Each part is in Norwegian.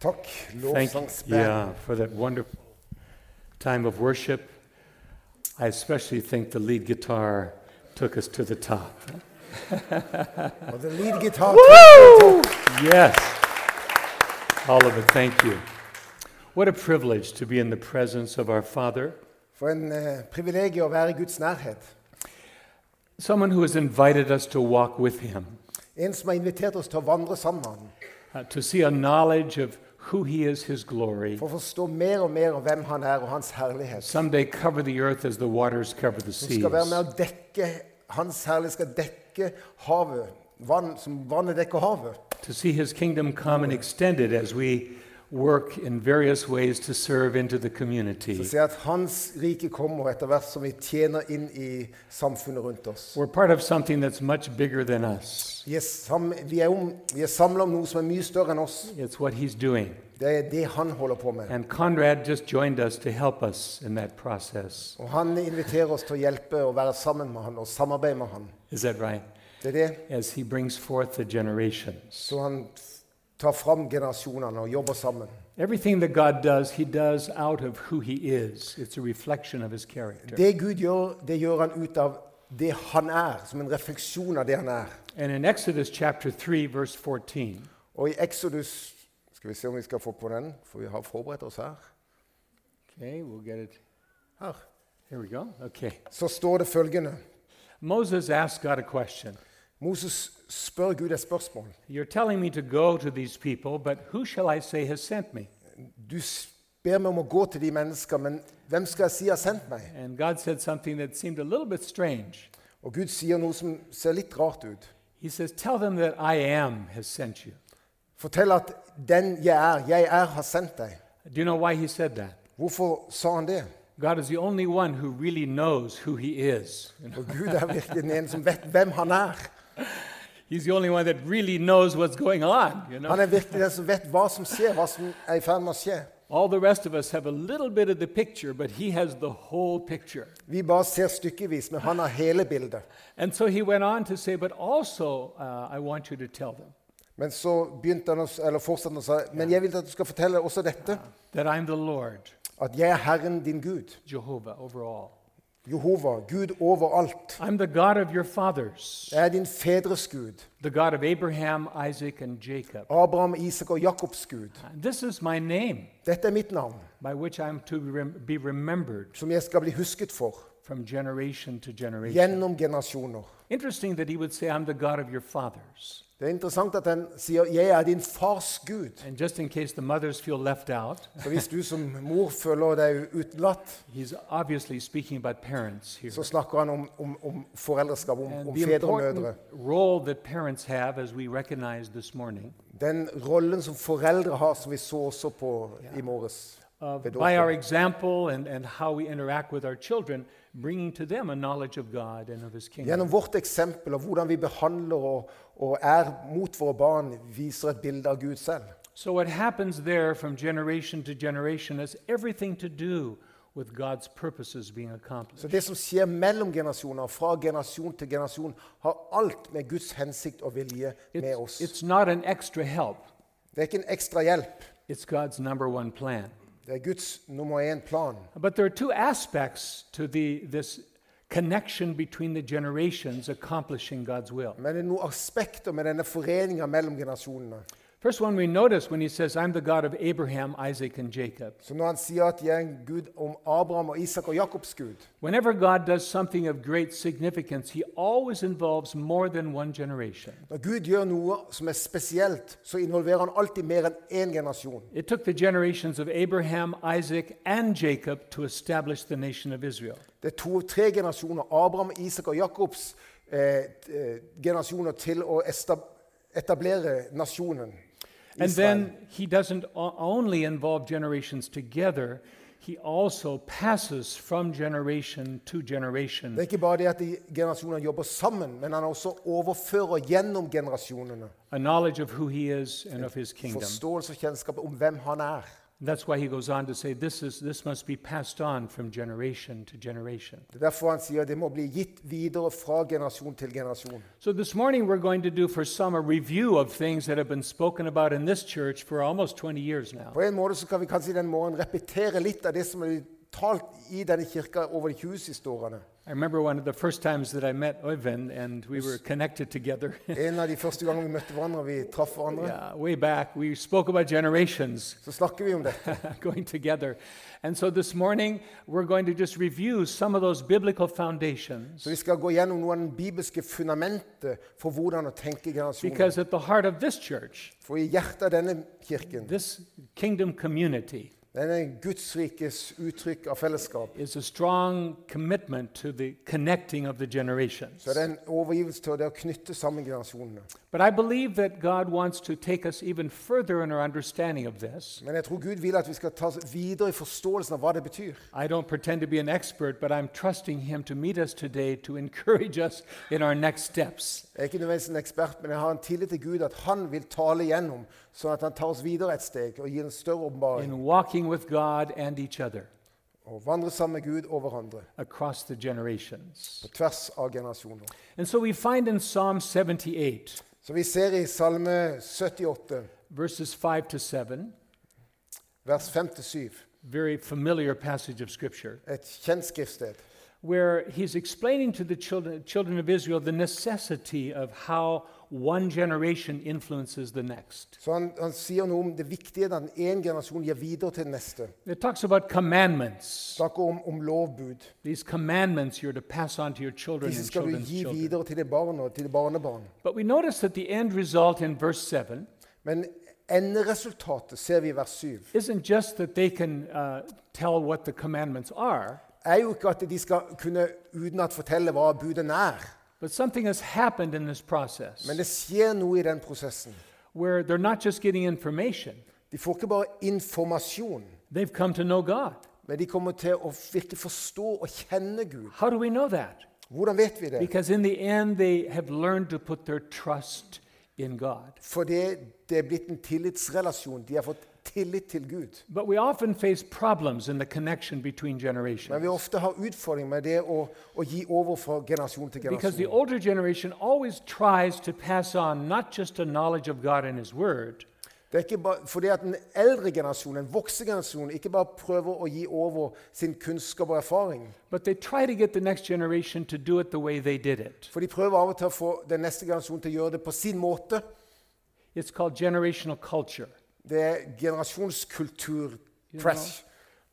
Takk, Thank lovsangsband. yeah, for that wonderful time of worship. I especially think the lead guitar took us to the top. Og the lead guitar takk, takk. Yes. All of it. Thank you. What a privilege to be in the presence of our Father, For en eh, privilegium å være i Guds nærhet. someone who has invited us to walk with Him, En som har invitert oss til å vandre sammen med han, uh, to see a knowledge of who He is, His glory. for å forstå mer og mer av hvem han er og hans herlighet. Someday cover the earth as the waters cover the Som seas. skal være med å dekke, hans herlighet skal dekke havet, vann, som vannet dekker havet. to see his kingdom come and extended as we work in various ways to serve into the Så community. ser jeg at hans rike kommer etter hvert som vi tjener inn i samfunnet rundt oss. We're part of something that's much bigger than us. Vi er, sam, vi er, om- vi er samla om noe som er mye større enn oss. It's what he's doing. Det er det han holder på med. And Conrad just joined us to help us in that process. Og han inviterer oss til å hjelpe og være sammen med han og samarbeide med han. Is that right? Det er det. As he brings forth the generations. Så han tar fram generasjonene og jobber sammen. Everything that God does, he does out of who he is. It's a reflection of his character. Det Gud gjør, det gjør han ut av det han er, som en refleksjon av det han er. And in Exodus chapter 3, verse 14, Og i Exodus Skal vi se om vi skal få på den, for vi har forberedt oss her. okay, we'll get it. Her. Here we go. Okay. Så står det følgende Moses asked God a question. Moses spør Gud et spørsmål. You're telling me to go to these people, but who shall I say has sent me? Du s- ber meg om å gå til de mennesker, men hvem skal jeg si har sendt meg? And God said something that seemed a little bit strange. Og Gud sier noe som ser litt rart ut. He says, Tell them that I am has sent you. Fortell at 'den jeg er, jeg er, har sendt deg'. Do you know why he said that? Hvorfor sa han det? God is the only one who really knows who he is. You know, Og Gud er virkelig den ene som vet hvem han er. He's the only one that really knows what's going on. You know? Han er virkelig den som vet hva som skjer, hva som er i ferd med å skje. All the rest of us have a little bit of the picture, but he has the whole picture. Vi bare ser stykkevis, men han har hele bildet. And so he went on to say, But also, uh, I want you to tell them Men så begynte han å, s- eller fortsatte han å si Men jeg vil at du skal fortelle også dette. that I'm the Lord, At jeg er Herren din Gud. Jehovah, over all. Jehova, Gud overalt. I'm the God of your fathers, Jeg er din fedres Gud. the God of Abraham, Isaac, and Jacob. Abraham, Isak og Jakobs Gud. This is my name Dette er mitt navn, by which I'm to rem- be remembered som jeg skal bli husket for. from generation to generation. Gjennom generasjoner. Interesting that he would say, I'm the God of your fathers. Det er interessant at han sier 'Jeg er din fars Gud'. And just in case the mothers feel left out, Så hvis du som mor føler deg utelatt, he's obviously speaking about parents here. så snakker han om, om, om foreldreskap, om, And om the fedre og mødre. important role that parents have, as we recognize this morning, Den rollen som foreldre har, som vi så også på i morges. of, ved uh, by our dåpen. example and, and how we interact with our children, bringing to them a knowledge of God and of his kingdom. Gjennom vårt eksempel og hvordan vi behandler og, og er mot våre barn, viser et bilde av Gud selv. So, what happens there from generation to generation has everything to do with God's purposes being accomplished. Så det som skjer mellom generasjoner, fra generasjon til generasjon, har alt med Guds hensikt og vilje med It's, oss. it's not an extra help, Det er ikke en ekstra hjelp. it's God's number one plan. Det er Guds nummer én-plan. But there are two aspects to the, this connection between the generations accomplishing God's will. Men det er noen aspekter med denne foreninga mellom generasjonene. First one we notice when he says, I'm the God of Abraham, Isaac, and Jacob. Så når han sier at jeg er en gud om Abraham og Isak og Jakobs gud, Whenever God does something of great significance, he always involves more than one generation. når Gud gjør noe som er spesielt, så involverer han alltid mer enn én generasjon. It took the generations of Abraham, Isaac, and Jacob to establish the nation of Israel. Det er to, tre generasjoner, Abraham, Isak og Jakobs eh, eh, generasjoner, til å esta- etablere nasjonen. And Israel. then he doesn't o- only involve generations together, he also passes from generation to det generation er ikke bare det at de generasjonene jobber sammen, men han også overfører gjennom generasjonene a knowledge of who he is and of his kingdom. forståelse og kjennskap om hvem han er. And that's why he goes on to say this, is, this must be passed on from generation to generation. Det er derfor han sier det må bli gitt videre fra generasjon til generasjon. So this morning we're going to do for some a review of things that have been spoken about in this church for almost 20 years now. På en måte så kan vi kanskje i den morgenen repetere litt av det som er talt i denne kirka over de 20 siste årene. I remember one of the first times that I met Oyvind and we were connected together. En av de første gangene vi møtte hverandre, vi traff hverandre, yeah, way back we spoke about generations så snakker vi om dette. going together. And so this morning we're going to just review some of those biblical foundations Så vi skal gå gjennom noen av den bibelske fundamentet for hvordan å tenke generasjoner. because at the heart of this church, For i hjertet av denne kirken, this kingdom community denne gudsrikes uttrykk av fellesskap, is a strong commitment to the connecting of the generations. så er det en overgivelse til det å knytte sammen generasjonene. But I believe that God wants to take us even further in our understanding of this. Men jeg tror Gud vil at vi skal ta oss videre i forståelsen av hva det betyr. I don't pretend to be an expert, but I'm trusting Him to meet us today to encourage us in our next steps. Jeg er ikke nødvendigvis en ekspert, men jeg har en tillit til Gud at han vil tale gjennom, sånn at han tar oss videre et steg og gir en større åpenbaring. in walking with God and each other Og vandre sammen med Gud og hverandre across the generations. på tvers av generasjoner. And so we find in Psalm 78, Så vi ser i Salme 78, verses 5 to 7, vers 5-7, very familiar passage of Scripture, et kjent skriftsted. where he's explaining to the children, children of Israel the necessity of how one generation influences the next. Så han, han sier noe om det viktige at én generasjon gir videre til den neste. It talks about commandments. Snakker om, om lovbud. These commandments you're to pass on to your children Disse and skal du children's gi children. videre til de barna og til de barnebarn. But we notice that the end result in verse 7 Men enderesultatet ser vi i vers 7. isn't just that they can uh, tell what the commandments are, Er jo ikke at de skal kunne utenat fortelle hva budene er. But something has happened in this process Men det skjer noe i den prosessen. where they're not just getting information, De får ikke bare informasjon, they've come to know God. men de kommer til å virkelig forstå og kjenne Gud. How do we know that? Hvordan vet vi det? Because in the end, they have learned to put their trust in God. Fordi det er blitt en tillitsrelasjon. De har fått tillit til Gud. But we often face problems in the connection between Men generations vi ofte har utfordringer med det å, å gi over fra generasjon til because the generasjon. older generation always tries to pass on not just a knowledge of God and His Word, Det er ikke bare, fordi at den eldre generasjonen, den voksne generasjonen, ikke bare prøver å gi over sin kunnskap og erfaring. but they try to get the next generation to do it the way they did it. For de prøver av og til å få den neste generasjonen til å gjøre det på sin måte. It's called generational culture. Det er generasjonskulturpress.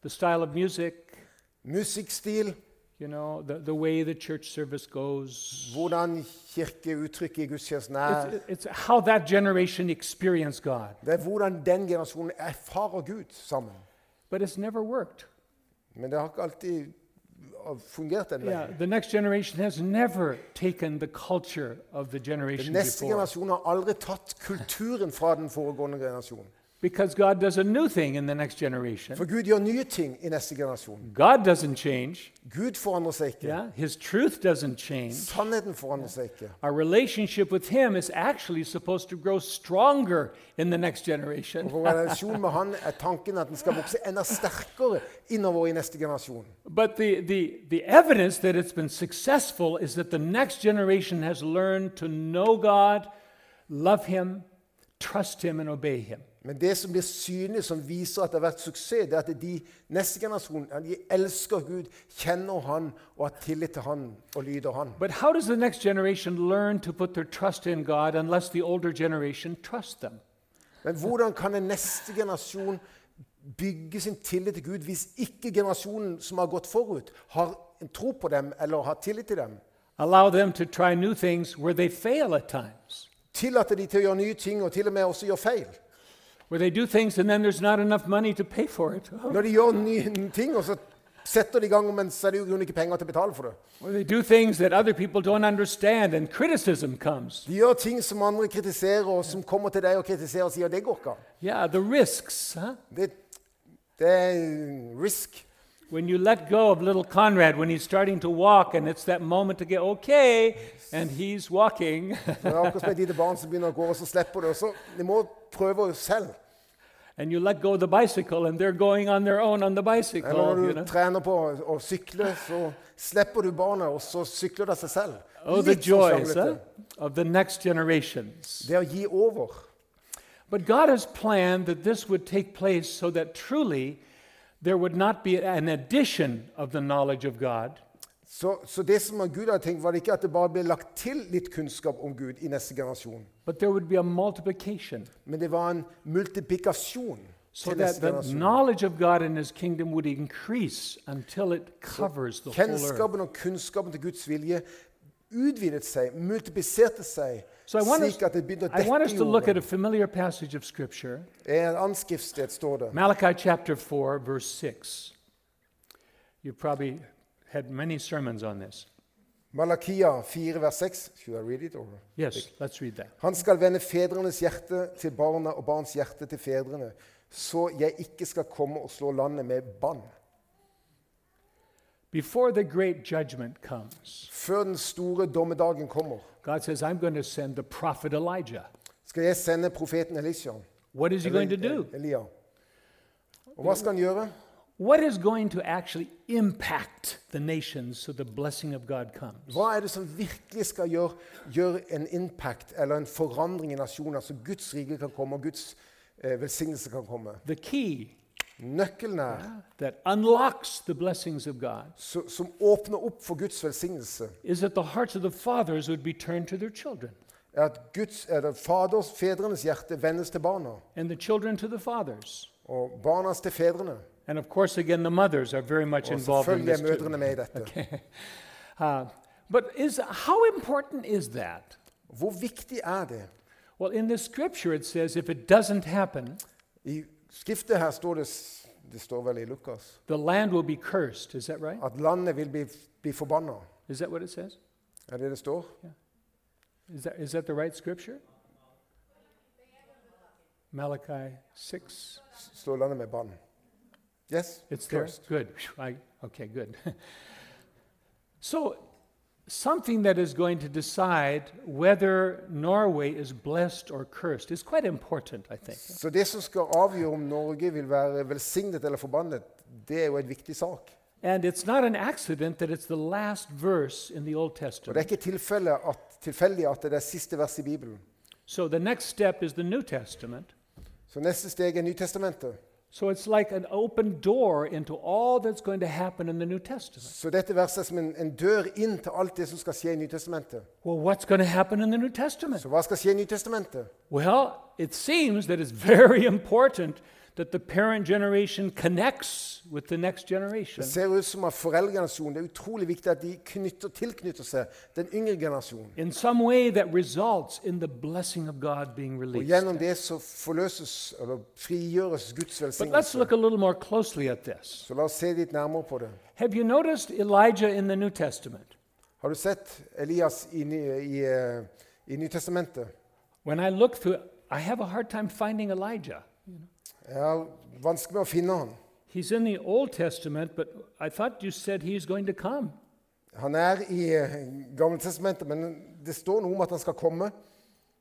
The style of music, Musikkstil, You know, the, the way the church service goes. hvordan kirkeuttrykket i gudstjenesten er. It's, it's how that generation experienced God. Det er hvordan den generasjonen erfarer Gud sammen. But it's never worked. Men det har ikke alltid fungert den Yeah, veien. the next generation has never taken the culture of the Den generation neste before. generasjon har aldri tatt kulturen fra den foregående generasjonen. Because God does a new thing in the next generation. For Gud gjør nye ting i neste generasjon. God doesn't change. Gud forandrer seg ikke. Yeah, his truth doesn't change. Sannheten forandrer seg ikke. Our relationship with him is actually supposed to grow stronger in the next Og generation. Vår relasjon med Han er tanken at den skal vokse enda sterkere innover i neste generasjon. But the, the, the evidence that it's been successful is that the next generation has learned to know God, love Him, trust Him, and obey Him. Men det som blir synlig, som viser at det har vært suksess, det er at de neste generasjon at de elsker Gud, kjenner Han og har tillit til Han og lyder Han. But how does the next generation learn to put their trust in God unless the older generation trusts them? Men hvordan kan den neste generasjon bygge sin tillit til Gud hvis ikke generasjonen som har gått forut, har en tro på dem eller har tillit til dem? Allow them to try new things where they fail at times, Tillater de til å gjøre nye ting og til og med også gjøre feil? where they do things and then there's not enough money to pay for it, Når de gjør nye ting, og så setter de i gang, men så er det jo i grunnen ikke penger til å betale for det. where they do things that other people don't understand and criticism comes. De gjør ting som andre kritiserer, og som kommer til deg og kritiserer og sier det går ikke. an». Yeah, the risks, huh? Det, det er risk. When you let go of little Conrad when he's starting to walk, and it's that moment to get okay, and he's walking, Når det er akkurat som et lite barn som begynner å gå, og så slipper det. Og så, de må prøve selv. and you let go of the bicycle and they're going on their own on Eller the når bicycle. du You know? trener på å sykle, så slipper du barnet, og så sykler det seg selv. Oh, the Litt sånn joys sjanglete. eh, of the next generations. Det å gi over. But God has planned that this would take place so that truly there would not be an addition of the knowledge of God, Så, så det som Gud hadde tenkt, var det ikke at det bare ble lagt til litt kunnskap om Gud i neste generasjon, but there would be a multiplication. men det var en multiplikasjon So til that neste the generasjon. knowledge of God and His kingdom would increase until it covers the whole earth. Kjennskapen og kunnskapen til Guds vilje utvidet seg, multipliserte seg, So I want us, slik at det begynte å I want us dekke to look at a jorden. familiar passage of Scripture, I et anskriftssted står det Malachi chapter 4, verse 6. You probably had many sermons on this. Malakia 4, vers 6. Should I read it? Or? Yes, let's read that. Han skal vende fedrenes hjerte til barna og barns hjerte til fedrene, så jeg ikke skal komme og slå landet med bann. Before the great judgment comes, Før den store dommedagen kommer, God says, I'm going to send the prophet Elijah. skal jeg sende profeten Elisha. What is he going to do? Elia. Og hva skal han gjøre? What is going to actually impact the nations so the blessing of God comes? Hva er det som virkelig skal gjøre, gjøre en impact eller en forandring i nasjoner, så Guds rike kan komme og Guds eh, velsignelse kan komme? The key Nøkkelen her, that unlocks the blessings of God så, som åpner opp for Guds velsignelse, is that the hearts of the fathers would be turned to their children er at Guds, eller faders, fedrenes hjerte vendes til barna. and the children to the fathers. og barnas til fedrene. And of course, again, the mothers are very much Og involved in selvfølgelig this. er too. mødrene med i dette. Uh, but is, how important is that? Hvor viktig er det? Well, in the scripture, it says if it doesn't happen, I skriftet her står det s- det står vel i Lukas the land will be cursed. Is that right? at landet vil bli, bli forbanna. Is that what it says? Er det det står? Is that, is that the right scripture? Malachi 6. S- Står landet med bann? Yes? It's there. cursed. Good. Phew, I, okay, good. so, something that is going to decide whether Norway is blessed or cursed is quite important, I think. Så det som skal avgjøre om Norge vil være velsignet eller forbannet, det er jo en viktig sak. And it's not an accident that it's the last verse in the Old Og det Testament. er ikke tilfelle at, tilfeldig at det er det siste verset i Bibelen. So, the next step is the New Testament. Så neste steg er Nytestamentet. So, it's like an open door into all that's going to happen in the New Testament. Så dette verset er som en, en dør inn til alt det som skal skje i Nytestamentet. Well, what's going to happen in the New Testament? Så hva skal skje i Nytestamentet? Well, it seems that it's very important that the parent generation connects with the next generation. Det ser ut som at foreldregenerasjonen, det er utrolig viktig at de knytter, tilknytter seg den yngre generasjonen. In some way that results in the blessing of God being Og released. gjennom det så forløses, eller frigjøres, Guds But let's velsignelse. look a little more closely at this. Så la oss se litt nærmere på det. Have you noticed Elijah in the New Testament? Har du sett Elias i, Ny- i, eh, i Nytestamentet? When I look through, I have a hard time finding Elijah. Jeg har vanskelig med å finne han. He's in the Old Testament, but I thought you said he's going to come. Han er i eh, Gammeltestamentet, men det står noe om at han skal komme.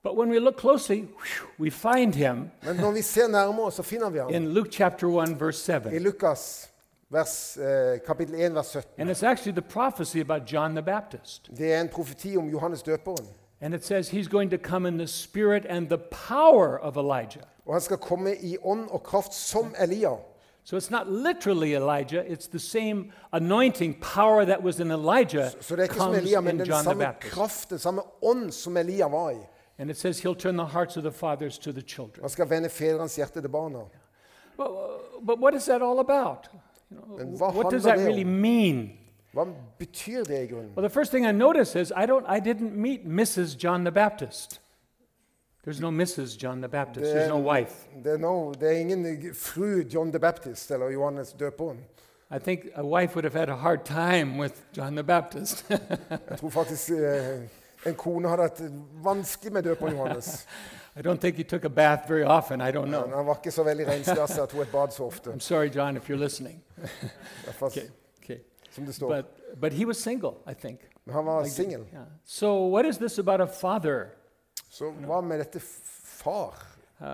But when we look closely, whew, we find him Men når vi ser nærmere, så finner vi han. in Luke chapter 1, verse 7. I Lukas vers, eh, kapittel 1, vers 17. And it's actually the prophecy about John the Baptist. Det er en profeti om Johannes døperen. And it says he's going to come in the spirit and the power of Elijah. Og han skal komme i ånd og kraft som Elia. So it's not literally Elijah, it's the same anointing power that was in Elijah Så det er ikke som comes Elia, men in den John the samme Baptist. kraft, den samme ånd som Elia var i. And it says he'll turn the hearts of the fathers to the children. Han skal vende fedrenes hjerte til barna. But, but what is that all about? You know, Men hva what does handler that det om? really mean? Hva betyr det i grunnen? Well, the first thing I notice is I, don't, I didn't meet Mrs. John the Baptist. There's no Mrs. John the Baptist, there's no wife. Det er, no, det er ingen fru John the Baptist eller Johannes døperen. I think a wife would have had a hard time with John the Baptist. Jeg tror faktisk eh, en kone hadde hatt vanskelig med døperen Johannes. I don't think he took a bath very often. I don't Men know. han var ikke så veldig renslig av seg at hun et bad så ofte. I'm sorry, John, if you're listening. i hvert fall Okay, okay. Som det står. But, but he was single, I think. Men han var singel. Yeah. So, what is this about a father? Så hva med dette f- far? uh,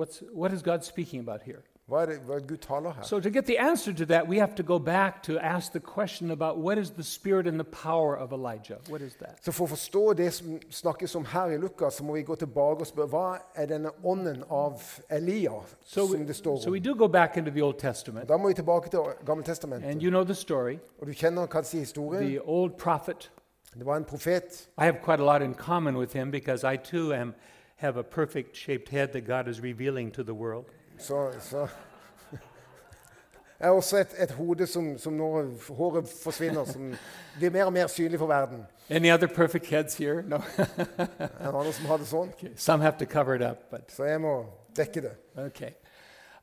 what's, what is God speaking about here? Hva er det hva er det Gud taler her? So, to get the answer to that, we have to go back to ask the question about what is the spirit and the power of Elijah? What is that? Så For å forstå det som snakkes om her i Lukas, så må vi gå tilbake og spørre hva er denne ånden av Elia So som we, det står so om. we do go back into the Old Testament, Da må vi tilbake til and Gammeltestamentet. you know the story. Og du kjenner kanskje historien. The old prophet. Det var en profet. I have quite a lot in common with him because I too am have a perfect shaped head that God is revealing to the world. Så, så. Jeg har også et, et hode som, som når håret forsvinner, som blir mer og mer synlig for verden. Any other perfect heads here? No. En annen som har det sånn. Okay. Some have to cover it up, but Så jeg må dekke det. okay.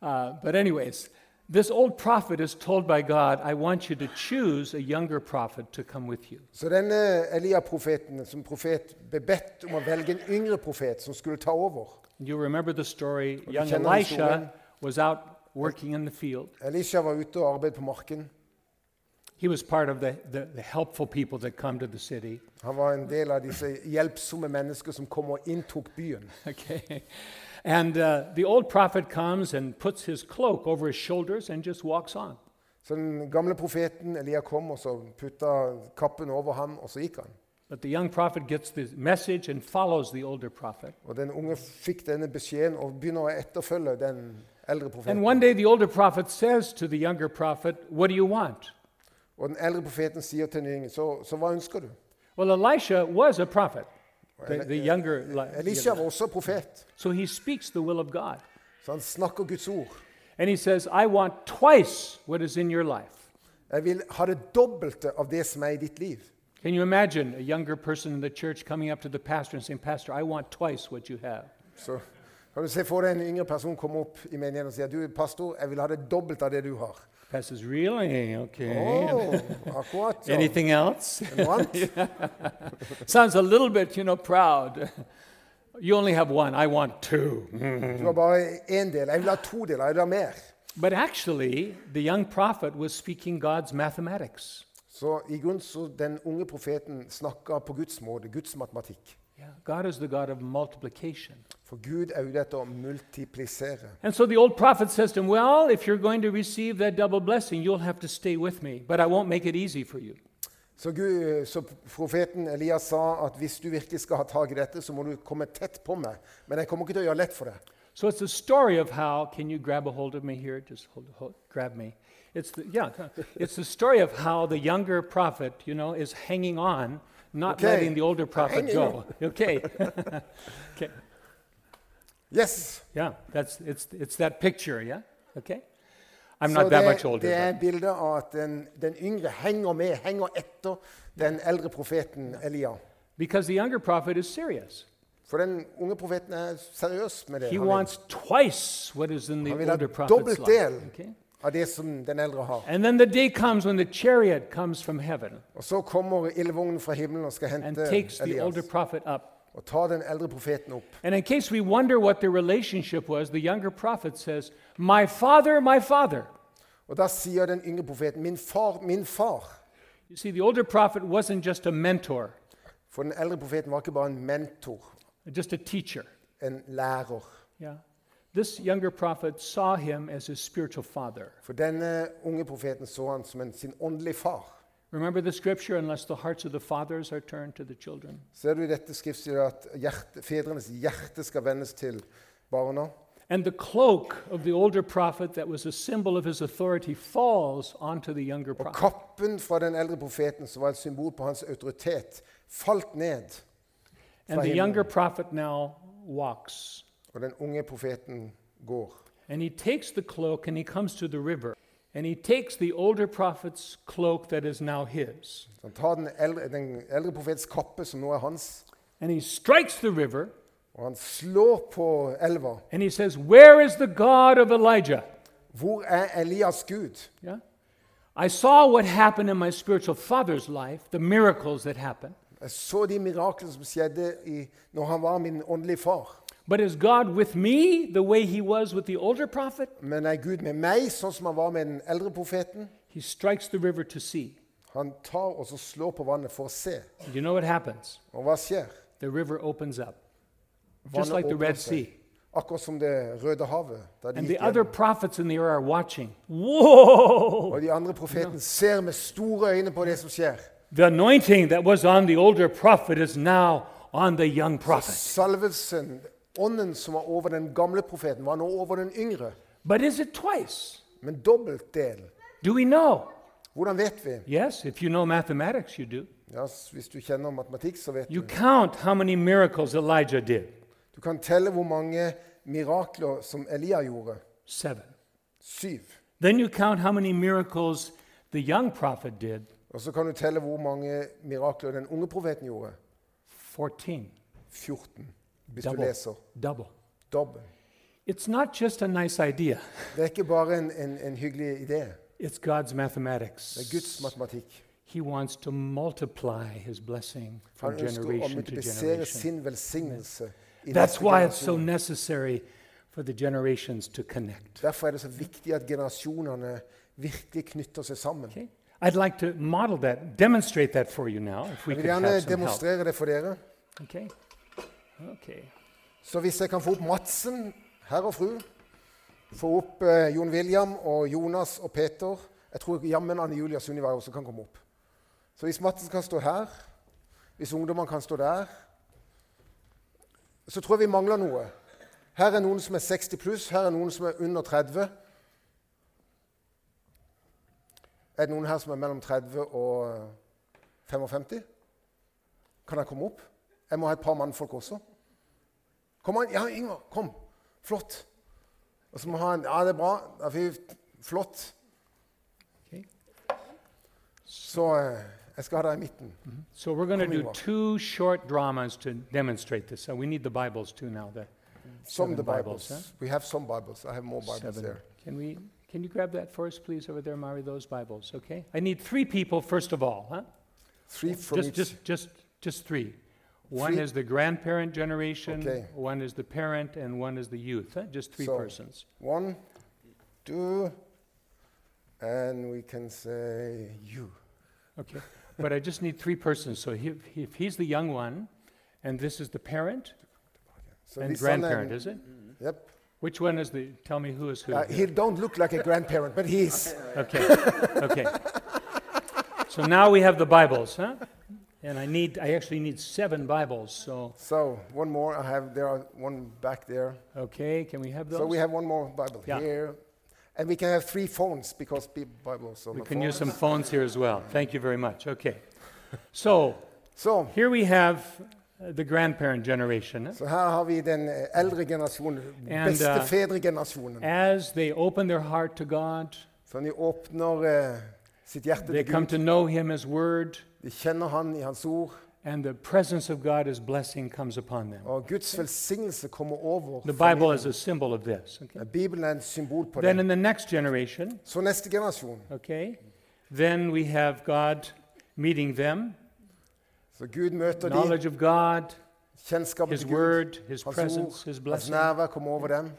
Uh, but anyways, this old prophet is told by God, "I want you to choose a younger prophet to come with you." Så denne Elia-profeten som profet ble bedt om å velge en yngre profet som skulle ta over. And you remember the story. Young kjenner historien. Elisha was out working in the field. Elisha var ute og arbeidet på marken. He was part of the, the, the helpful people that come to the city. Han var en del av disse hjelpsomme mennesker som kom og inntok byen. Okay. And uh, the old prophet comes and puts his cloak over his shoulders and just walks on. Så den gamle profeten Elia kom, og så putta kappen over ham, og så gikk han. But the young prophet gets the message and follows the older prophet. Og den unge fikk denne beskjeden og begynner å etterfølge den eldre profeten. And one day the older prophet says to the younger prophet, What do you want? Og den eldre profeten sier til den yngre, så, så hva ønsker du? Well, Elisha was a prophet, the, the younger. Eli- Elisha var også profet, So he speaks the will of God. så han snakker Guds ord. And he says, I want twice what is in your life. Jeg vil ha det dobbelte av det som er i ditt liv. Can you imagine a younger person in the church coming up to the pastor and saying, Pastor, I want twice what you have? Så kan du se for deg en yngre person komme opp i menigheten og si du, pastor, jeg vil ha det dobbelte av det du har. Pastor's really? Å, Okay. akkurat sånn. Anything else? Noe annet? Sounds a little bit, you know, proud. You only have one, I want two. Du har bare én del. Jeg vil ha to deler. Jeg vil ha mer. But actually, the young prophet was speaking God's mathematics. Så i grunnen så den unge profeten snakka på Guds måte, Guds matematikk. Yeah. God is the God of multiplication. For Gud er ute etter å multiplisere. And so the old prophet says to him, Well, if you're going to receive that double blessing, you'll have to stay with me, but I won't make it easy for you. Så, Gud, så profeten Elias sa at hvis du virkelig skal ha tak i dette, så må du komme tett på meg. Men jeg kommer ikke til å gjøre lett for deg. So it's a story of how, can you grab a hold of me here? Just hold, hold, grab me. It's the, yeah, it's the story of how the younger prophet, you know, is hanging on, not Okay. letting the older prophet Hanging go. Okay. okay. Yes! Yeah, that's, it's, it's that picture, yeah? Okay. I'm Så not that det, much older. det er but- et bilde av at den, den yngre henger med, henger etter den eldre profeten Elia. Because the younger prophet is serious. For den unge profeten er seriøs med det. He Han vil, wants twice what is in the han vil ha older dobbelt prophet's life. del Okay. av det som den eldre har. And then the day comes when the chariot comes from heaven Og så kommer ildvognen fra himmelen og skal and hente takes the older Elias prophet up og tar den eldre profeten opp. And in case we wonder what their relationship was, the younger prophet says, My father, my father. Og da sier den yngre profeten, 'Min far, min far'. You see, the older prophet wasn't just a mentor, For den eldre profeten var ikke bare en mentor, just a teacher. en lærer. Yeah. This younger prophet saw him as his spiritual father. For denne unge profeten så han som en, sin åndelige far. Remember the scripture, unless the hearts of the fathers are turned to the children. Ser du i dette skriftstedet at hjerte, fedrenes hjerte skal vendes til barna? And the cloak of the older prophet, that was a symbol of his authority, falls onto the younger Og prophet. kappen fra den eldre profeten, som var et symbol på hans autoritet, falt ned. And the Fine. younger prophet now walks. Og den unge profeten går. And he takes the cloak and he comes to the river. And he takes the older prophet's cloak that is now his. Så han tar den eldre, den eldre profets kappe, som nå er hans, And he strikes the river og han slår på elva. and he says, Where is the God of Elijah? Hvor er Elias Gud? Yeah. I saw what happened in my spiritual father's life, the miracles that happened. Jeg så de miraklene som skjedde i, når han var min åndelige far. But is God with me the way he was with the older prophet? Men er Gud med meg, sånn som han var med den eldre profeten? He strikes the river to see. Han tar og så slår på vannet for å se. You know what happens? Og hva skjer? The river opens up, Vannet just like the Red åpner seg. Sea. Akkurat som Det røde havet. Da de And gikk the other gjennom. prophets in the era are watching. Whoa! Og de andre profetene ser med store øyne på det som skjer. The anointing that was on the older prophet is now on the young prophet. Salvelsen, ånden som var over den gamle profeten, var nå over den yngre. But is it twice? Men dobbelt del. Do we know? Hvordan vet vi? Yes, if you know mathematics, you do. Ja, s- hvis du kjenner matematikk, så vet You du. count how many miracles Elijah did. Du kan telle hvor mange mirakler som Elia gjorde. Seven. Syv. Then you count how many miracles the young prophet did. Og så kan du telle hvor mange mirakler den unge profeten gjorde. 14. 14. Hvis du Double. leser. Double. Dobbel. It's not just a nice idea, Det er ikke bare en, en, en hyggelig idé. it's God's mathematics. Det er Guds matematikk. He wants to multiply his blessing from Han ønsker å generation to multiplisere generation. sin velsignelse. i That's neste why it's so generasjon. necessary for the generations to connect. Derfor er det så viktig at generasjonene virkelig knytter seg sammen. Okay? I'd like to model that, demonstrate that for you now, if we Jeg could vil gjerne have some help. demonstrere det for dere. Okay? Okay. Så hvis jeg kan få opp Madsen, herr og fru, få opp eh, Jon William og Jonas og Peter Jeg tror jammen Anne Julia Sunniva også kan komme opp. Så hvis Madsen kan stå her, hvis ungdommene kan stå der Så tror jeg vi mangler noe. Her er noen som er 60 pluss, her er noen som er under 30. Er det noen her som er mellom 30 og 55? Kan jeg komme opp? Jeg må ha et par mannfolk også. Kom an, ja, Ingvar, kom. Flott. Og så må han Ja, det er bra. Da fikk vi Flott. Okay. Så eh, jeg skal ha deg i midten. So we're going to Coming do up. two short dramas to demonstrate this. So we need the Bibles too now. The Some seven of the Bibles. huh? We have some Bibles. I have more Bibles Seven. there. Can we? Can you grab that for us, please, over there, Mari? Those Bibles, okay? I need three people first of all, huh? Three from Just, each. just, just, just three. One Three- is the grandparent generation. Okay. One is the parent, and one is the youth. Huh? Just three So- persons. One, two, and we can say you. Okay. but I just need three persons. So he, he- if he's the young one, and this is the parent So and this son grandparent, and- is it? Yep. Which one is the? Tell me who is who. Uh, here. he don't look like a grandparent, but he is. Okay, okay. So now we have the Bibles, huh? And I need, I actually need seven Bibles, so, So one more. I have there are one back there. okay, can we have those? So we have one more Bible Yeah. here, and we can have three phones because pe- Bibles on We the can phone. use some phones here as well. Thank you very much, okay. So, Så, here we have uh, the grandparent generation. huh? så her har vi den eh, eldre generasjonen, And, uh, bestefedregenerasjonen. As they open their heart to God, Så de åpner eh, sitt hjerte they til come Gud. to know Him as Word, De kjenner Han i Hans ord, and the presence of God as blessing comes upon them. og Guds velsignelse kommer over. The familien. Bible is a symbol of this, okay? Bibelen er et symbol på Then det. in the next generation, Så neste generasjon. Okay? Then we have God meeting them, Så Gud møter de, knowledge of God, kjennskapen His til Gud. Word, His Hans presence, ord, His hans blessing. nærvær kommer over dem.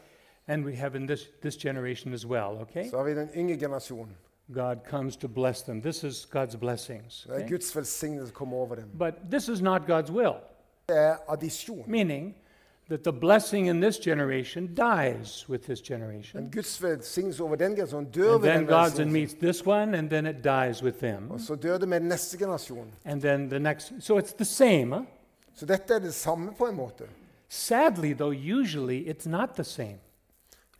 And we have in this, this generation as well, okay? Så har vi den yngre generasjonen. God comes to bless them. This is God's blessings. Det er okay? Guds velsignelse kommer over dem. But this is not God's will, Det er addisjon. meaning that the blessing in this generation dies with this Men generation. Guds velsignelse over den generasjonen dør And ved then den God then generasjonen. meets this one, and then it dies with them. Og så dør det med den neste generasjon. And then the next. So it's the same. Huh? Så dette er det samme på en måte. Sadly, though, usually it's not the same.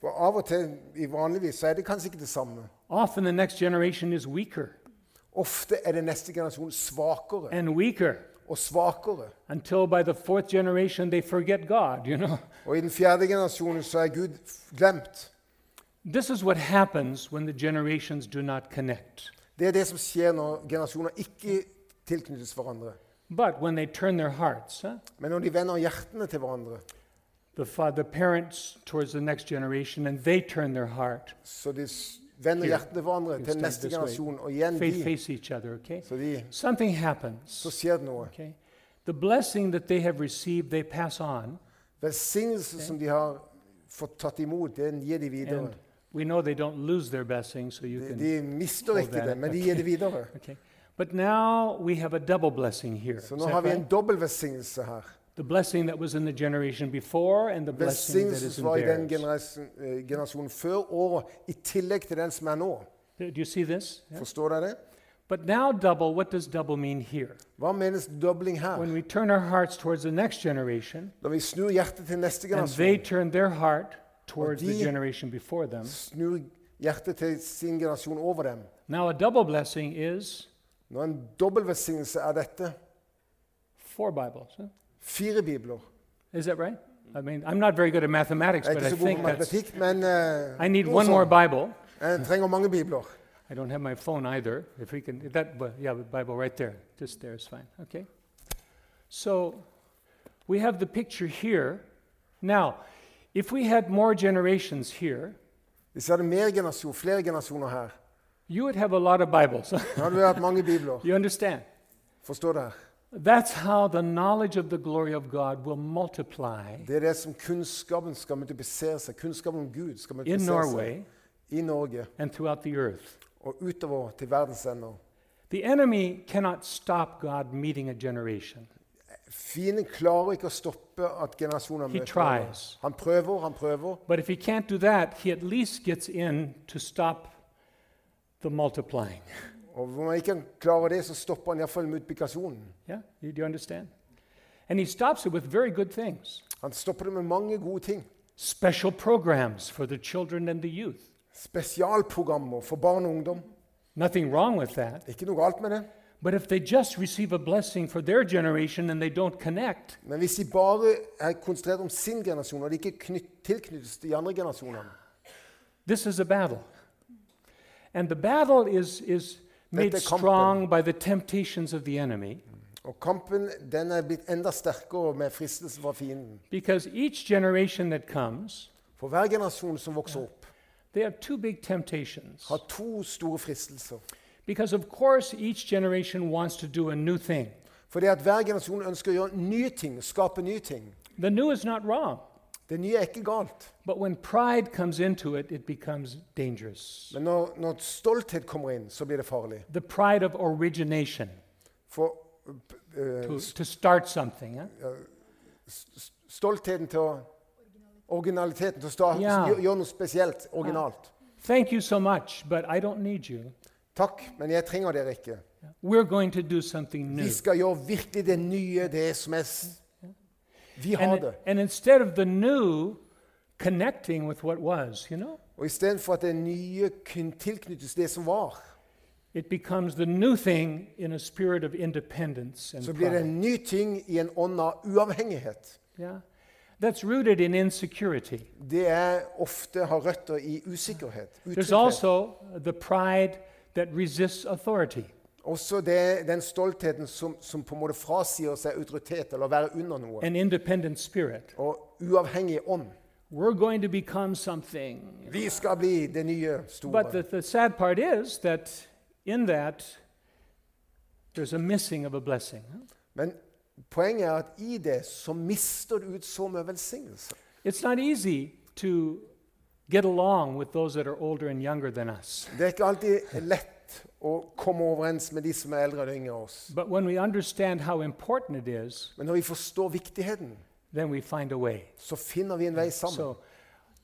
Og av og til i vanligvis så er det kanskje ikke det samme. Often the next generation is weaker Ofte er den neste generasjon svakere and weaker og svakere. until by the fourth generation they forget God, you know. Og i den fjerde generasjonen så er Gud f- glemt. This is what happens when the generations do not connect. Det er det som skjer når generasjoner ikke tilknyttes hverandre. But when they turn their hearts, huh, Men når de vender hjertene til hverandre, the, fa- the parents towards the next generation, and they turn their heart, så de s- vender Here. hjertene til hverandre You til stand neste this way. generasjon, og igjen they de, face each other, okay? så, de, Something så happens, skjer det noe. okay? The blessing that they have received, they pass on, Velsignelse som de har fått tatt imot, den gir de videre. and we know they don't lose their blessing, so you De, can. de mister hold ikke that det, up, men de okay. gir det videre. Okay. But now we have a double blessing here. Så Is nå that har vi right? en dobbel velsignelse her. The blessing that was in the generation before and the blessing that is Velsignelsen in var i den theirs. generasjon- eh, generasjonen før og i tillegg til den som er nå. Do you see this? Yeah. Forstår dere det? But now, double, what does double mean here? Hva menes dobling her? When we turn our hearts towards the next generation, Når vi snur hjertet til neste and they generasjon, turn their heart towards the die- generation before them. snur hjertet til sin generasjon over dem. Now, a double blessing is Nå en dobbel velsignelse er dette. four Bibles. huh? Fire bibler. Is that right? I mean, I'm not very good at mathematics, Jeg er but I ikke så god think på that's. matematikk, men eh, I need noe one more sånn. Bible. Jeg trenger mange bibler. I don't have my phone either. If we can, that, Bi- yeah, the Bible right there. Just there is fine. Okay. So we have the picture here. Now, if we had more generations here, Hvis vi hadde mer generasjon, flere generasjoner her, you would have a lot of Bibles. da hadde vi hatt mange bibler. you understand? Forstår dere? That's how the knowledge of the glory of God will multiply Det er det som kunnskapen skal multiplisere seg. Kunnskapen om Gud skal in multiplisere seg Norway i Norge and throughout the earth. og utover til verdens ender. The enemy cannot stop God meeting a generation. Fienden klarer ikke å stoppe at generasjoner He møter hverandre. tries. Han prøver, han prøver. But if he can't do that, he at least gets in to stop the multiplying. Og Når man ikke klarer det, så stopper han iallfall multiplikasjonen. Yeah? You, do you understand? And he stops it with very good things Han stopper det med mange gode ting. special programs for the children and the youth. Spesialprogrammer for barn og ungdom. Nothing wrong with that. Ikke noe galt med det. But if they just receive a blessing for their generation and they don't connect, Men hvis de bare er konsentrert om sin generasjon, og de ikke knyt, tilknyttes de andre generasjonene this is a battle. And the battle is, is made Let the company- strong by the temptations of the enemy Og kampen den er blitt enda sterkere med fristelsen fra fienden. because each generation that comes, For hver generasjon som vokser opp, they have two big temptations. har to store fristelser. Because, of course, each generation wants to do a new thing. Fordi at hver generasjon ønsker å gjøre nye ting, skape nye ting. The new is not wrong, Det nye er ikke galt. but when pride comes into it, it becomes dangerous. Men når, når stolthet kommer inn, så blir det farlig. The pride of origination, For eh, to, to start something. huh? stoltheten til å Originaliteten til å starte, Ja. gjøre gjør noe spesielt, originalt. Thank you so much, but I don't need you. Takk, men jeg trenger dere ikke. We're going to do something Vi new. skal gjøre virkelig det nye, det som er s- Vi har And, det. and instead of the new connecting with what was, you know, Og istedenfor at det nye kun tilknyttes det som var, it becomes the new thing in a spirit of independence and så blir det pride. en ny ting i en ånd av uavhengighet. Yeah? That's rooted in insecurity. Det er ofte har røtter i usikkerhet. There's utrygghet. also the pride that resists authority. Også det, den stoltheten som, som på en måte frasier seg autoritet, eller å være under noe. an independent spirit. Og uavhengig ånd. We're going to become something. Vi skal bli det nye But the, store. the sad part is that in that, there's a missing of a blessing. Men poenget er at i det så mister du ut så mye velsignelse. It's not easy to get along with those that are older and younger than us. Det er ikke alltid lett å komme overens med de som er eldre og yngre enn oss. But when we understand how important it is, Men når vi forstår viktigheten, then we find a way. så finner vi en vei sammen. So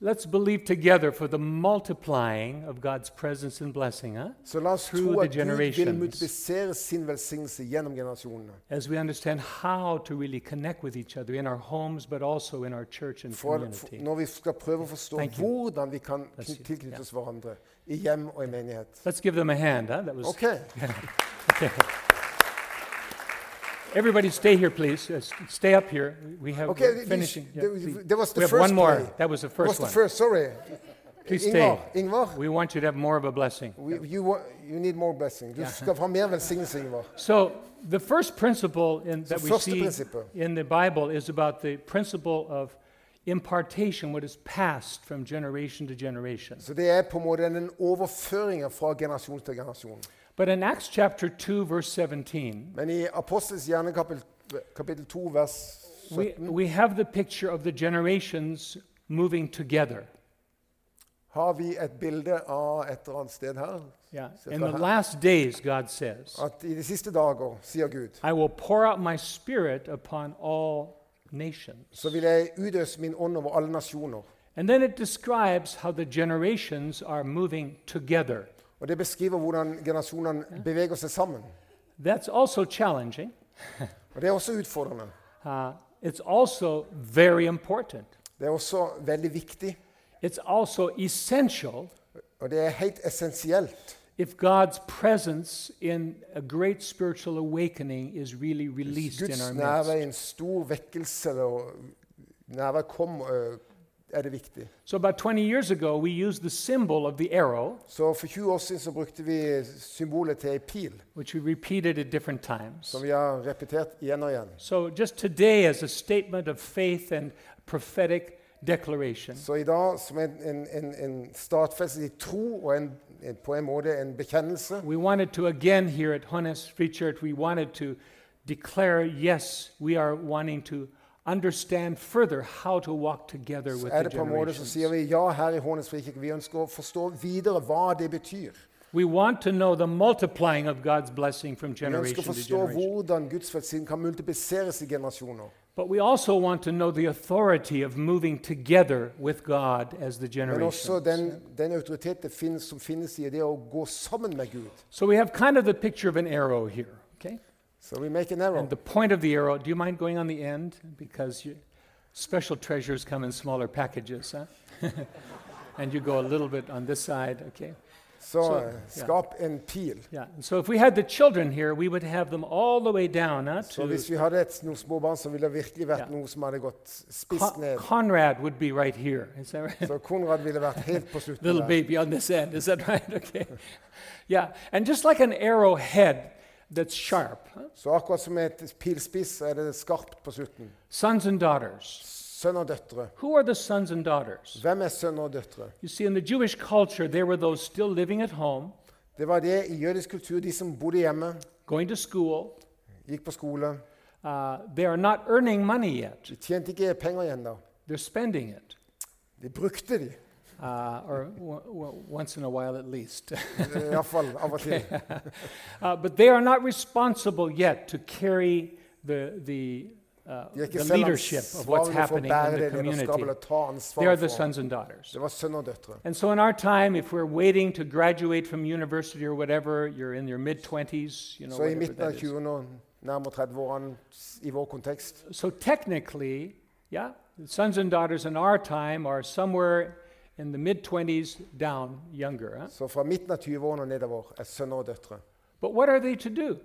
let's believe together for the multiplying of God's presence and blessing, huh? Så la oss through tro the at Gud vil generations. multiplisere sin velsignelse gjennom generasjonene. as we understand how to really connect with each other in our homes, but also in our church and For, for, community. når vi skal prøve å forstå Thank you. hvordan vi kan That's kn- it, tilknytte yeah. oss hverandre i hjem og i menighet. Let's give them a hand. Huh? That was Ok, everybody. Stay here, please. Uh, s- stay up here. We have ok, we're this- finishing. Yeah, please. that, that was we the have first one more. play. That was the That was first the one. first, sorry. Please Ingvar, stay. Ingvar We want you to have more of a blessing. we, you, wa- you need more blessing. Du skal ha mer velsignelse, Ingvar. So the first principle in, that we first see principle. in the Bible is about the principle of impartation, what is passed from generation to generation. Så det er på en måte den overføringen fra generasjon til generasjon. But in Acts chapter 2, verse 17, Men i Apostels hjerne kapittel, kapittel 2 vers we, 17 we have the picture of the generations moving together. har vi et bilde av et eller annet sted her. Yeah. So In for the how- last days, God says, At i de siste dager, sier Gud, I will pour out my spirit upon all nations. så vil jeg utøse min ånd over alle nasjoner. And then it describes how the generations are moving together. Og Det beskriver hvordan generasjonene beveger seg sammen. That's also challenging. Og Det er også utfordrende. Uh, it's also very important. Det er også veldig viktig, It's also essential og det er helt essensielt if God's presence in a great spiritual awakening is really released in Guds our midst. nærvær i en stor vekkelse og nærvær kom, øh, er det viktig. So, about 20 years ago, we used the symbol of the arrow, Så For 20 år siden så brukte vi symbolet til ei pil, which we repeated at different times. som vi har repetert igjen og igjen. So, just today, as a statement of faith and prophetic declaration, Så i dag, som en, en, en, en stadfestet i tro og en, en, på en måte en bekjennelse, we wanted to again here at Honest Free Church, we wanted to declare yes, we are wanting to understand further how to walk together så with er the det på en måte som sier generations. vi ja her i Hånes frikirke. Vi ønsker å forstå videre hva det betyr. We want to know the multiplying of God's blessing from Vi ønsker generation å to forstå generation. hvordan Guds velsignelse kan multipliseres i generasjoner. But we also want to know the authority of moving together with God as the Men også generation. den, den autoritet det finnes, som finnes i det å gå sammen med Gud. So we have kind of the picture of an arrow here, okay? Så we make an arrow. And the point of the arrow, do you mind going on the end? Because you, special treasures come in smaller packages, huh? and you go a little bit on this side, okay? Så så- eh, skap en pil. Yeah. And so if we had the children here, we would have them all the way down, huh? Så To hvis vi hadde et, noen små barn, så ville det virkelig vært Ja. noe som hadde gått spist Con- ned. Conrad would be right here. Is that right? Så Konrad ville vært helt på slutten Little der. baby on this end. Is that right? Okay. Yeah. And just like an arrowhead that's sharp, huh? Så akkurat som et pilspiss så er det skarpt på slutten. sons and daughters. Sønn og døtre. Who are the sons and daughters? Hvem er sønner og døtre? You see, in the Jewish culture, there were those still living at home, Det var det i jødisk kultur. De som bodde hjemme, going to school, gikk på skole. Uh, they are not earning money yet. De tjente ikke penger igjen da. They're spending it, De brukte de, uh, or w- w- once in a while at least. eh, iallfall av og til. uh, but they are not responsible yet to carry the, the, uh, De er ikke the selv leadership of what's ansvarlige for å happening in bære the det lederskapet community. eller ta They are ansvar the for. sons and daughters. Det var sønn og døtre. And so, in our time, if we're waiting to graduate from university or whatever, you're in your mid 20s, you know, Så i whatever midten av that is. 20-årene og nærmere 30-årene s- i vår kontekst So, technically, yeah, the sons and daughters in our time are somewhere in the mid 20s down, younger. Huh? Så fra midten av 20-årene og nedover er sønner og døtre. But what are they to do?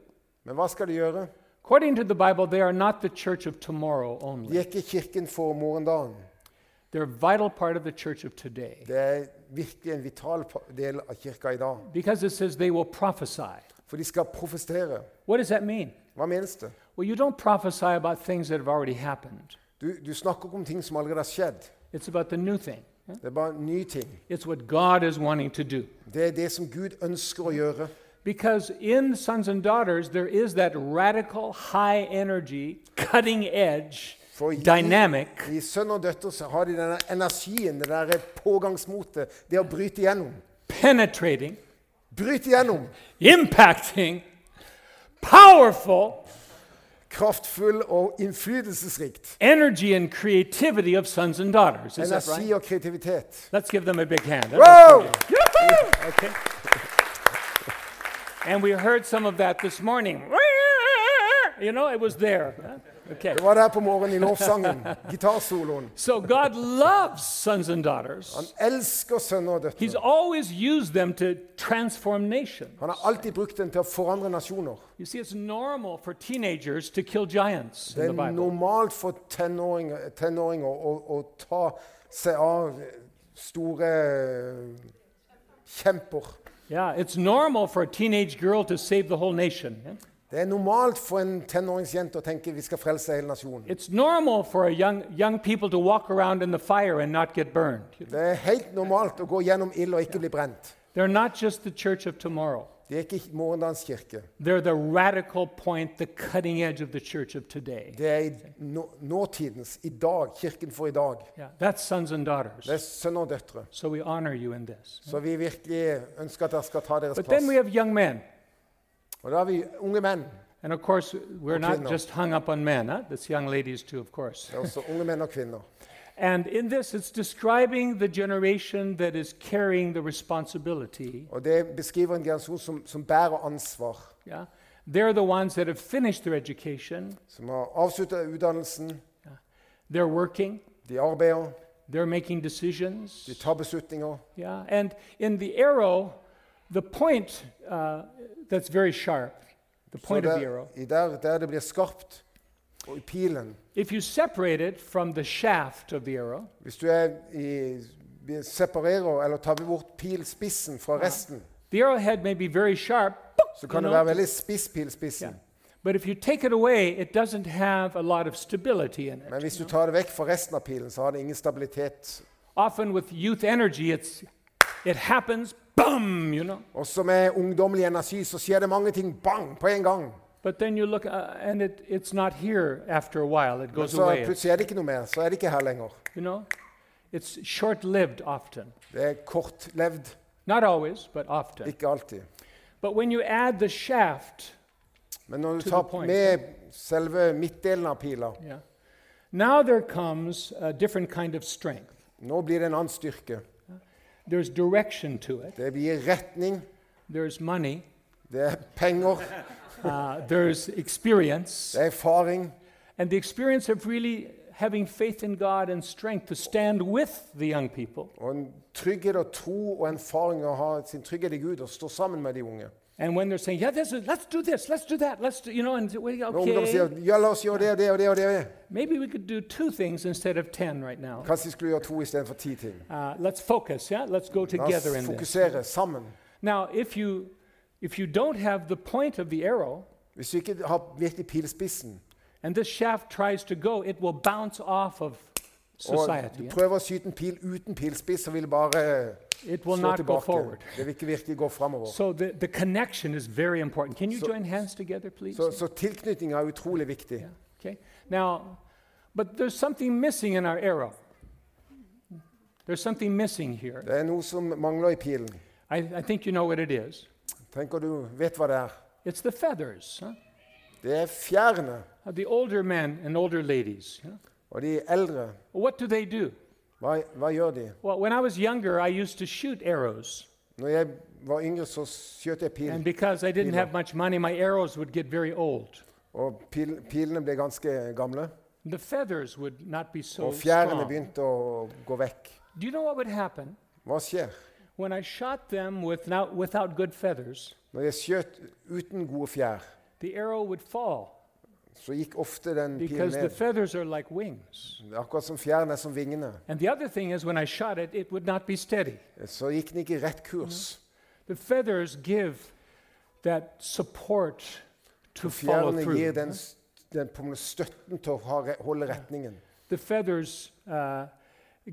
Men hva skal de gjøre? According to the Bible, they are not the church of tomorrow De only. er ikke i kirken for morgendagen. They're a vital part of the church of today. Det er virkelig en vital pa- del av kirka i dag. Because it says they will prophesy. For de skal profestere. What does that mean? Hva menes det? Well, you don't prophesy about things that have already happened, Du, du snakker ikke om ting som allerede har skjedd. it's about the new thing. Det er bare nye ting. It's what God is wanting to do. Det er det som Gud ønsker å gjøre. Because in sons and daughters, there is that radical, high energy, cutting edge, For i, dynamic i sønn og døtre så har de denne energien, det der pågangsmotet, det å bryte igjennom. penetrating, Bryte igjennom! impacting, powerful Kraftfull og innflytelsesrikt. energy and creativity of sons and daughters. Is that right? Energi og kreativitet. Let's give them a big hand. Wow! Okay. And we heard some of that this morning. You know, it was there. Okay. Det var der på morgenen i lovsangen. Gitarsoloen. So God loves sons and daughters. Han elsker sønner og He's døtre. always used them to transform nations. Han har alltid brukt den til å forandre nasjoner. You see, it's normal for teenagers to kill giants Det in the er Bible. normalt for tenåringer, tenåringer å, å ta seg av store eh, kjemper. Yeah, it's normal for a teenage girl to save the whole nation. yeah? Det er normalt for en tenåringsjente å tenke vi skal frelse hele nasjonen. It's normal for a young, young people to walk around in the fire and not get burned. Det er helt normalt å gå gjennom ild og ikke bli brent. They're not just the church of tomorrow. Det er ikke morgendagens kirke. They're the radical point, the cutting edge of the church of today. Det er i nå- nåtidens, i dag, kirken for i dag. Yeah, that's sons and Det daughters. er sønner og døtre. So we honor you in this. Så vi virkelig ønsker at dere skal ta deres But then we plass. have young men, Og da har vi unge menn. And of course, we're Okay, not no. just hung up on men, huh? That's young ladies too, of course. Det er også unge menn og kvinner. And in this, it's describing the generation that is carrying the responsibility. Og Det beskriver en generasjon som, som bærer ansvar. Yeah? They're the ones that have finished their education, Som har avslutta utdannelsen, they're working, de arbeider, they're making decisions. de tar beslutninger. Yeah, and in the arrow, the point uh, that's very sharp, the Så point of the der, arrow, i der, der det blir skarpt, og i pilen if you separate it from the shaft of the arrow, Hvis du er i, vi separerer eller tar vi bort pilspissen fra resten, the arrowhead may be very sharp, boop, så you kan det know, være veldig spiss yeah. pilspissen. but if you take it away, it doesn't have a lot of stability in it. Men hvis du tar det vekk fra resten av pilen, så har det ingen stabilitet. Often with youth energy, it's, it happens, boom, you know. Også med ungdommelig energi så skjer det mange ting bang på en gang. But then you look, uh, and it, it's not here after a while. It Men goes så away. It's, plutselig er det ikke noe mer. Så er det ikke her lenger. you know, it's short-lived often. Det er kortlevd. Not always, but often. Ikke alltid. But when you add the shaft, Men når To du the tar point. med selve midtdelen av pila, yeah, now there comes a different kind of strength. nå blir det en annen styrke. There's direction to it. Det blir retning, There's money. det er penger, Uh, there's experience, det er erfaring. and the experience of really having faith in God and strength to stand with the young people. Og en trygghet og tro og erfaring å ha sin trygghet i Gud og stå sammen med de unge. And when they're saying, "Yeah, this is, let's do this, let's do that, let's do," you know, and say, well, Når ungdom okay, sier ja, la oss gjøre det og det og det og det. maybe we could do two things instedet of ten right now. Kanskje vi skulle gjøre to istedenfor ti ting. Uh, let's focus. Yeah, let's go La together oss in this. fokusere sammen. Now, if you if you don't have the point of the arrow, Hvis vi ikke har virkelig pilspissen And this shaft tries to go, it will bounce off of og du society. prøver å skyte en pil uten pilspiss, så vil det bare It slå will not go tilbake. forward. Det vil ikke virkelig gå framover. So the, the connection is very important. Can you So- join hands together, please? Så, så tilknytning er utrolig viktig. Yeah. Okay. Now, but there's something missing in our arrow. There's something missing here. Det er noe som mangler i pilen. I, I think you know what it is. Tenker du vet hva det er? It's the feathers. Huh? Det er fjærene Uh, The older men and older ladies. You know? og de eldre. What do they do? Hva, hva gjør de? Well, when I was younger, I used to shoot arrows. Når jeg var yngre, så skjøt jeg pil, And because I didn't Pila. have much money, my arrows would get very old. og pil, pilene ble ganske gamle. The feathers would not be so Og fjærene strong. begynte å gå vekk. Do you know what would happen Hva skjer? when I shot them without, without good feathers? Når jeg skjøt uten gode fjær, The arrow would fall så gikk ofte den pilen because the ned. feathers are like wings. Det er Akkurat som fjærene er som vingene. And the other thing is, when I shot it, it would not be steady. Så gikk den ikke i rett kurs. The feathers give that support to For follow fjærene through. gir den, s- den på en måte støtten til å ha, re- holde retningen. The feathers uh,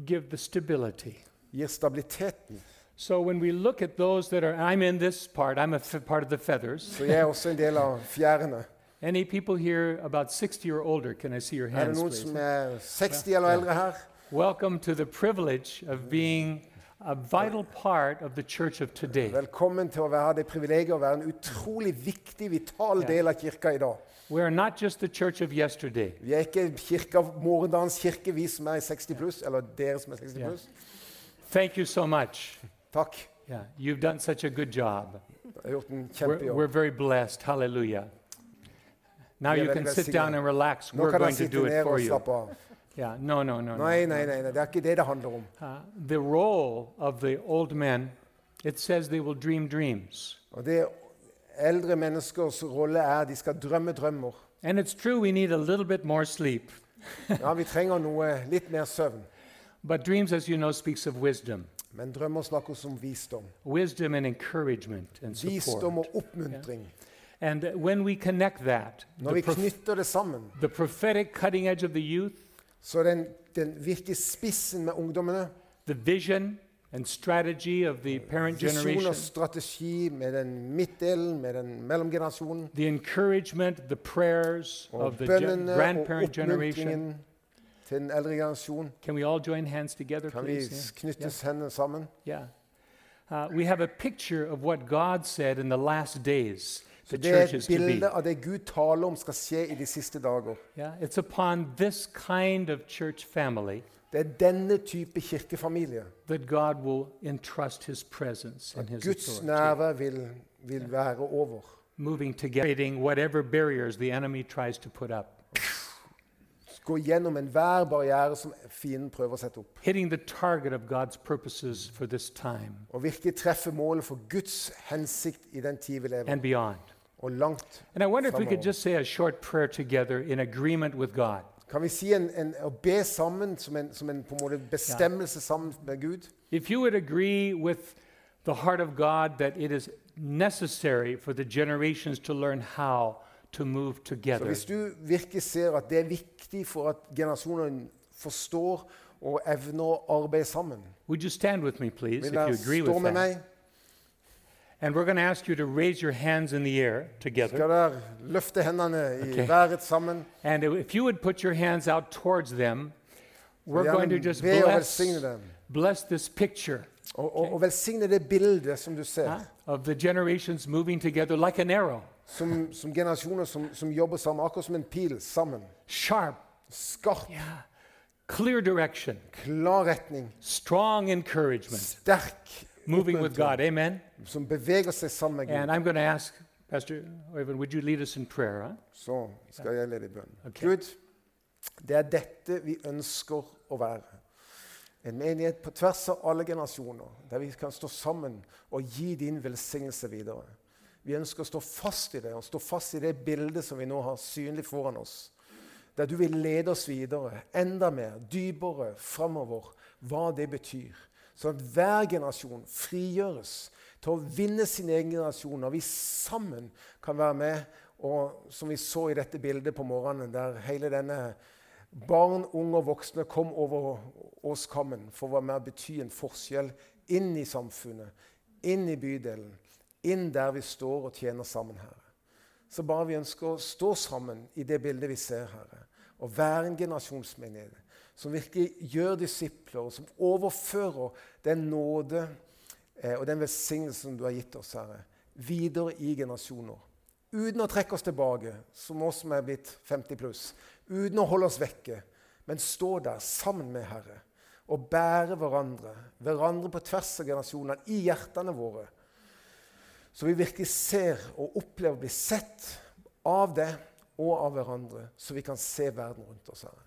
give the stability. Gir stabiliteten. So when we look at those that are, I'm in this part, I'm a f- part of the feathers. Så jeg er også en del av fjærene. Any people here about 60 or older, can I see your Er hands, det noen please? som er 60 eller eldre her? Welcome to the privilege of being a vital part of the church of today. Velkommen til å være, ha det privilegiet å være en utrolig viktig, vital Ja. del av kirka i dag. We are not just the church of yesterday. Vi er ikke kirka, morgendagens kirke, vi som er i 60 pluss, eller dere som er 60 Ja. pluss. Thank you so much. Takk. Yeah, you've done such a good job. Du har gjort en We're, kjempejobb. we're very blessed. Hallelujah. Now Yeah, you that- can that's sit the- down and relax. Nå We're kan going dere to sitte do it ned for og you. slappe av. Yeah, no, no, no, no. Nei, nei, nei, nei, det er ikke det det handler om. Uh, the role of the old men, it says they will dream dreams. Og det eldre menneskers rolle er de skal drømme drømmer. And it's true we need a little bit more sleep. Ja, vi trenger noe litt mer søvn. But dreams, as you know, speaks of wisdom. Men drømmer snakker også om visdom. Wisdom and encouragement and support. Visdom og oppmuntring. And when we connect that, Når the, vi prof- knytter det sammen, the prophetic cutting edge of the youth, så er den, den virkelig spissen med ungdommene the vision and strategy of the parent Visjon generation, og strategi med den midtdelen, med den mellomgenerasjonen. the encouragement, the prayers Og of oh, the gen- bønnene og grandparent generation. oppmuntringen til den eldre generasjon. Can we all join hands together, Kan vi please? Yeah. s- knyttes hendene sammen? Yeah. Uh, we have a picture of what God said in the last days Så the det er church is et to be. bilde av det Gud taler om skal skje i de siste dager. Yeah, it's upon this kind of church family Det er denne type kirkefamilie that God will entrust His presence and at His Guds authority. nærvær vil, vil være over. Moving together, creating whatever barriers the enemy tries to put up, Gå gjennom enhver barriere som fienden prøver å sette opp. hitting the target of God's purposes for this time Og virkelig treffe målet for Guds hensikt i den tid vi lever i. and beyond. Og langt And I wonder if we could Fremover. just say a short prayer together in agreement with God. Kan vi si en, en, å be sammen som en, som en på en måte bestemmelse sammen med Gud? If you would agree with the heart of God that it is necessary for the generations to learn how to move Så together, Hvis du virkelig ser at det er viktig for at generasjonene forstår og evner å arbeide sammen would you stand with me, please, if Vil you dere agree stå with med that? meg? And we're going to ask you to raise your hands in the air together. Skal dere løfte hendene i Ok. været sammen? And if you would put your hands out towards them, we're Gjerne going to just be og bless, velsigne dem. bless this picture Og, og, og velsigne det bildet som du ser, huh, of the generations moving together like an arrow, som, som generasjoner som, som jobber sammen, akkurat som en pil sammen. sharp, Skarp, yeah, clear direction, klar retning, strong encouragement, sterk, moving with God. Amen. som beveger seg sammen med Gud. And I'm going to ask Pastor Oyvind, would you lead us in prayer? Huh? Så skal jeg lede i bønn. Ok. Gud, det er dette vi ønsker å være. En menighet på tvers av alle generasjoner, der vi kan stå sammen og gi din velsignelse videre. Vi ønsker å stå fast i det, og stå fast i det bildet som vi nå har synlig foran oss. Der du vil lede oss videre, enda mer, dypere, framover. Hva det betyr. Sånn at hver generasjon frigjøres til å vinne sin egen generasjon. Og vi sammen kan være med, og som vi så i dette bildet på morgenen, der hele denne barn, unge og voksne kom over oss sammen for å være med og bety en forskjell inn i samfunnet, inn i bydelen, inn der vi står og tjener sammen, Herre. Så bare vi ønsker å stå sammen i det bildet vi ser, Herre, og være en generasjonsmenighet som virkelig gjør disipler, og som overfører den nåde eh, og den velsignelsen du har gitt oss, Herre, videre i generasjoner. Uten å trekke oss tilbake, som oss som er blitt 50 pluss. Uten å holde oss vekke, men stå der sammen med Herre og bære hverandre, hverandre på tvers av generasjonene, i hjertene våre. Så vi virkelig ser og opplever å bli sett av det og av hverandre, så vi kan se verden rundt oss. Herre.